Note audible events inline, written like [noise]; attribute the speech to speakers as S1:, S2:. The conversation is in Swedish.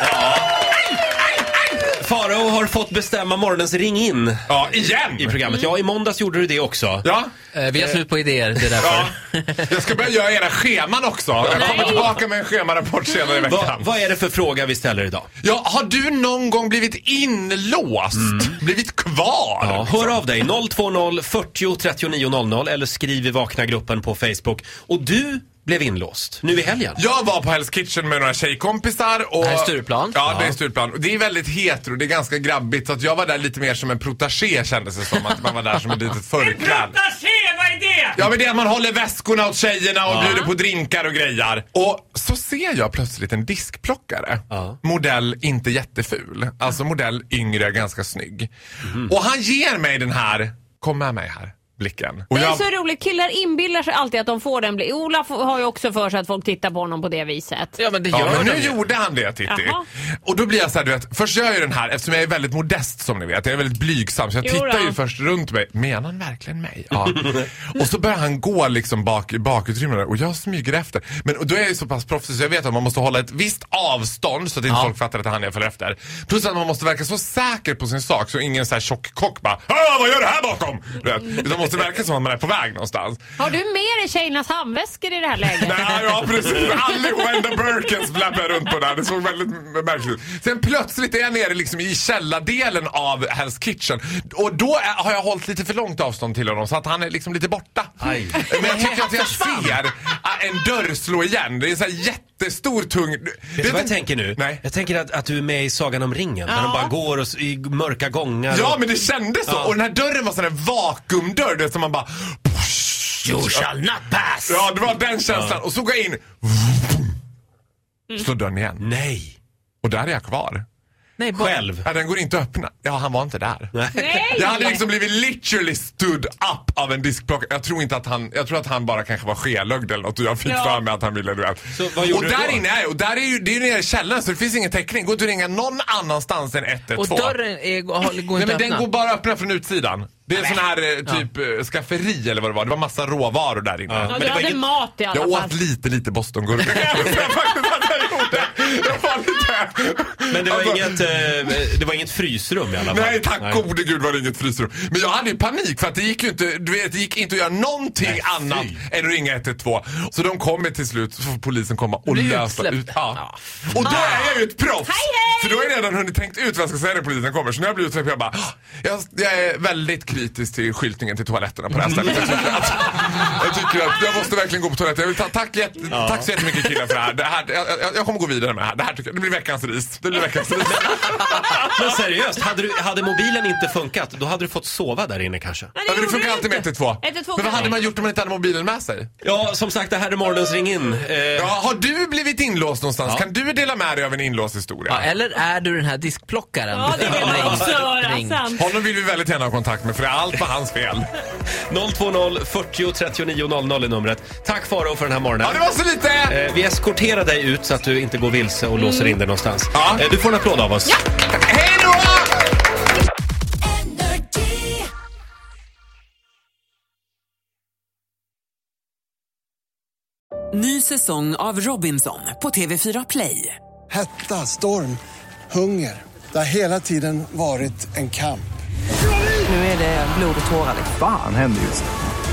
S1: Ja. Farao har fått bestämma morgonens ring in
S2: Ja, igen!
S1: i programmet. Ja, i måndags gjorde du det också.
S2: Ja,
S3: Eh, Vi har slut på idéer, det är därför.
S2: ja. Jag ska börja göra era scheman också. Jag kommer tillbaka med en schemarapport senare i
S1: Va,
S2: veckan.
S1: vad är det för fråga vi ställer idag?
S2: Ja, har du någon gång blivit inlåst? Blivit kvar?
S1: Mm. Ja, hör av dig 020 40 39 00 eller skriv i Vakna-gruppen på Facebook. Och du blev inlåst nu i helgen.
S2: Jag var på Hell's Kitchen med några tjejkompisar. Och...
S3: Det här är Stureplan.
S2: Ja, det är Stureplan. Och Det är väldigt hetero, det är ganska grabbigt. Så att jag var där lite mer som en protaché kändes det som. Att man var där som ett litet förklädd.
S4: Tjena, vad är det?
S2: Ja men det är att man håller väskorna åt tjejerna och bjuder på drinkar och grejer. Och så ser jag plötsligt en diskplockare.
S1: Ja.
S2: Modell inte jätteful. Alltså modell yngre, ganska snygg.
S3: Mhm.
S2: Och han ger mig den här, kom med mig här, blicken. Och
S4: Det är
S2: jag,
S4: så roligt, killar inbillar sig alltid att de får den bli. Olaf har ju också för sig att folk tittar på honom på det viset.
S3: [laughs] Ja, men det gör
S2: ja men
S3: de
S2: nu
S3: ju.
S2: gjorde han det Titti.
S4: Jaha.
S2: Och då blir jag så här, du vet, först gör jag ju den här eftersom jag är väldigt modest som ni vet. Jag är väldigt blygsam så jag
S4: Jo
S2: tittar
S4: då.
S2: ju först runt mig. Menar han verkligen mig? Ja. och så börjar han gå liksom bak, i bakutrymmena och jag smyger efter. Men och då är jag ju så pass proffsig så jag vet att man måste hålla ett visst avstånd så att inte folk fattar att det är han jag följer efter. Plus att man måste verka så säker på sin sak så ingen så här tjock kock bara "Ah, vad gör du här bakom? Du vet. Utan man måste verka som att man är på väg någonstans.
S4: Har du med dig tjejernas handväskor i det här läget?
S2: Nej, ja precis. Allihopa enda Birkens blabbade runt på där. Det såg väldigt märkligt ut. Sen plötsligt är jag nere liksom i källardelen av Hell's Kitchen. Och då är, har jag hållit lite för långt avstånd till honom så att han är liksom lite borta.
S1: Aj.
S2: Men jag tycker att jag ser eh, en dörr slå igen. Det är en sån här jättestor tung...
S1: Vet du vad jag tänker nu?
S2: Nej.
S1: Jag tänker att, att du är med i Sagan om ringen. Där de bara går och, s- i mörka gångar.
S2: Ja
S1: och...
S2: men det kändes så.
S1: Ja.
S2: Och den här dörren var sån här vakuumdörr. Det är som man bara...
S1: You shall not pass!
S2: Ja det var den känslan. Och så går jag in. Slår dörren igen.
S1: Nej.
S2: Och där är jag kvar.
S3: Nej, bara-
S1: Själv.
S2: Ja, den går inte att öppna. Ja, han var inte där.
S4: Nej!
S2: Jag hade liksom blivit literally stood up av en diskplockare. Jag tror inte att han, jag tror att han bara kanske var skelögd eller något och jag fick
S4: Ja.
S2: för mig att han ville du vet.
S1: Så vad gjorde
S2: och
S1: du
S2: där
S1: då?
S2: inne är jag, och där är ju, det är ju nere i källaren så det finns ingen täckning. Går inte att ringa någon annanstans än 112.
S3: Och dörren är, har- går
S2: Nej
S3: inte
S2: men
S3: att öppna.
S2: den går bara att öppna från utsidan. Det är en sån här eh, typ eh, skafferi eller vad det var. Det var massa råvaror där inne.
S4: Ja,
S1: men
S4: du
S1: det var
S4: hade
S1: inget-
S4: mat i alla
S2: Jag
S4: fall.
S2: åt lite, lite Bostongurka. Det är faktiskt att jag gjorde. Jag var lite...
S1: [laughs] Men det var,
S2: Alltså-
S1: inget, eh, det var inget frysrum i alla fall.
S2: Nej tack gode gud var det inget frysrum. Men jag hade ju panik för att det gick ju inte, du vet, det gick inte att göra någonting
S1: Nej, fy.
S2: annat än att ringa 112. Så de kommer till slut, så får polisen komma och
S3: Blir
S2: lösa
S3: utsläppt.
S2: ut. Ja. Och då är jag ju ett proffs! För då har jag redan hunnit tänkt ut vad jag ska säga när polisen kommer. Så när jag blir utsläppt jag bara, "Ah, jag, jag är väldigt kritisk till skyltningen till toaletterna på det här stället. Jag tycker att, jag, tycker att jag måste verkligen gå på toaletten. Jag vill ta, tack, jätte, tack så jättemycket killar för det här. Det här jag, jag, jag kommer gå vidare med det här. Det här tycker jag, det blir veckans ris. Det blir veckans ris.
S1: Men seriöst, hade, du, hade mobilen inte funkat, då hade du fått sova där inne kanske.
S4: Men
S2: Ja, men det
S4: gjorde
S2: funkar
S4: du
S2: alltid med
S4: inte.
S2: 112.
S4: 112
S2: Men vad hade
S4: kan-
S2: man gjort om man inte hade mobilen med sig?
S1: Ja, som sagt, det här är morgonens ring in. Eh,
S2: Ja, har du blivit inlåst någonstans? Kan du dela med dig av en inlåst historia?
S3: Ja, eller är du den här diskplockaren?
S4: Ja, det vill man också
S3: Ring.
S4: höra. sant.
S2: Honom vill vi väldigt gärna ha kontakt med för det är allt på hans fel.
S1: 020 40 39 00 är numret. Tack Faro för den här morgonen.
S2: Ja, det var så lite!
S1: Eh, Vi eskorterar dig ut så att du inte går vilse och låser in dig någonstans.
S2: Ja.
S1: Eh, Du får en applåd av oss.
S2: Hej då!
S5: Ny säsong av Robinson på TV4 Play.
S6: Hetta, storm, hunger. Det har hela tiden varit en kamp.
S5: Nu är det blod och tårar. liksom.
S7: Fan händer just nu.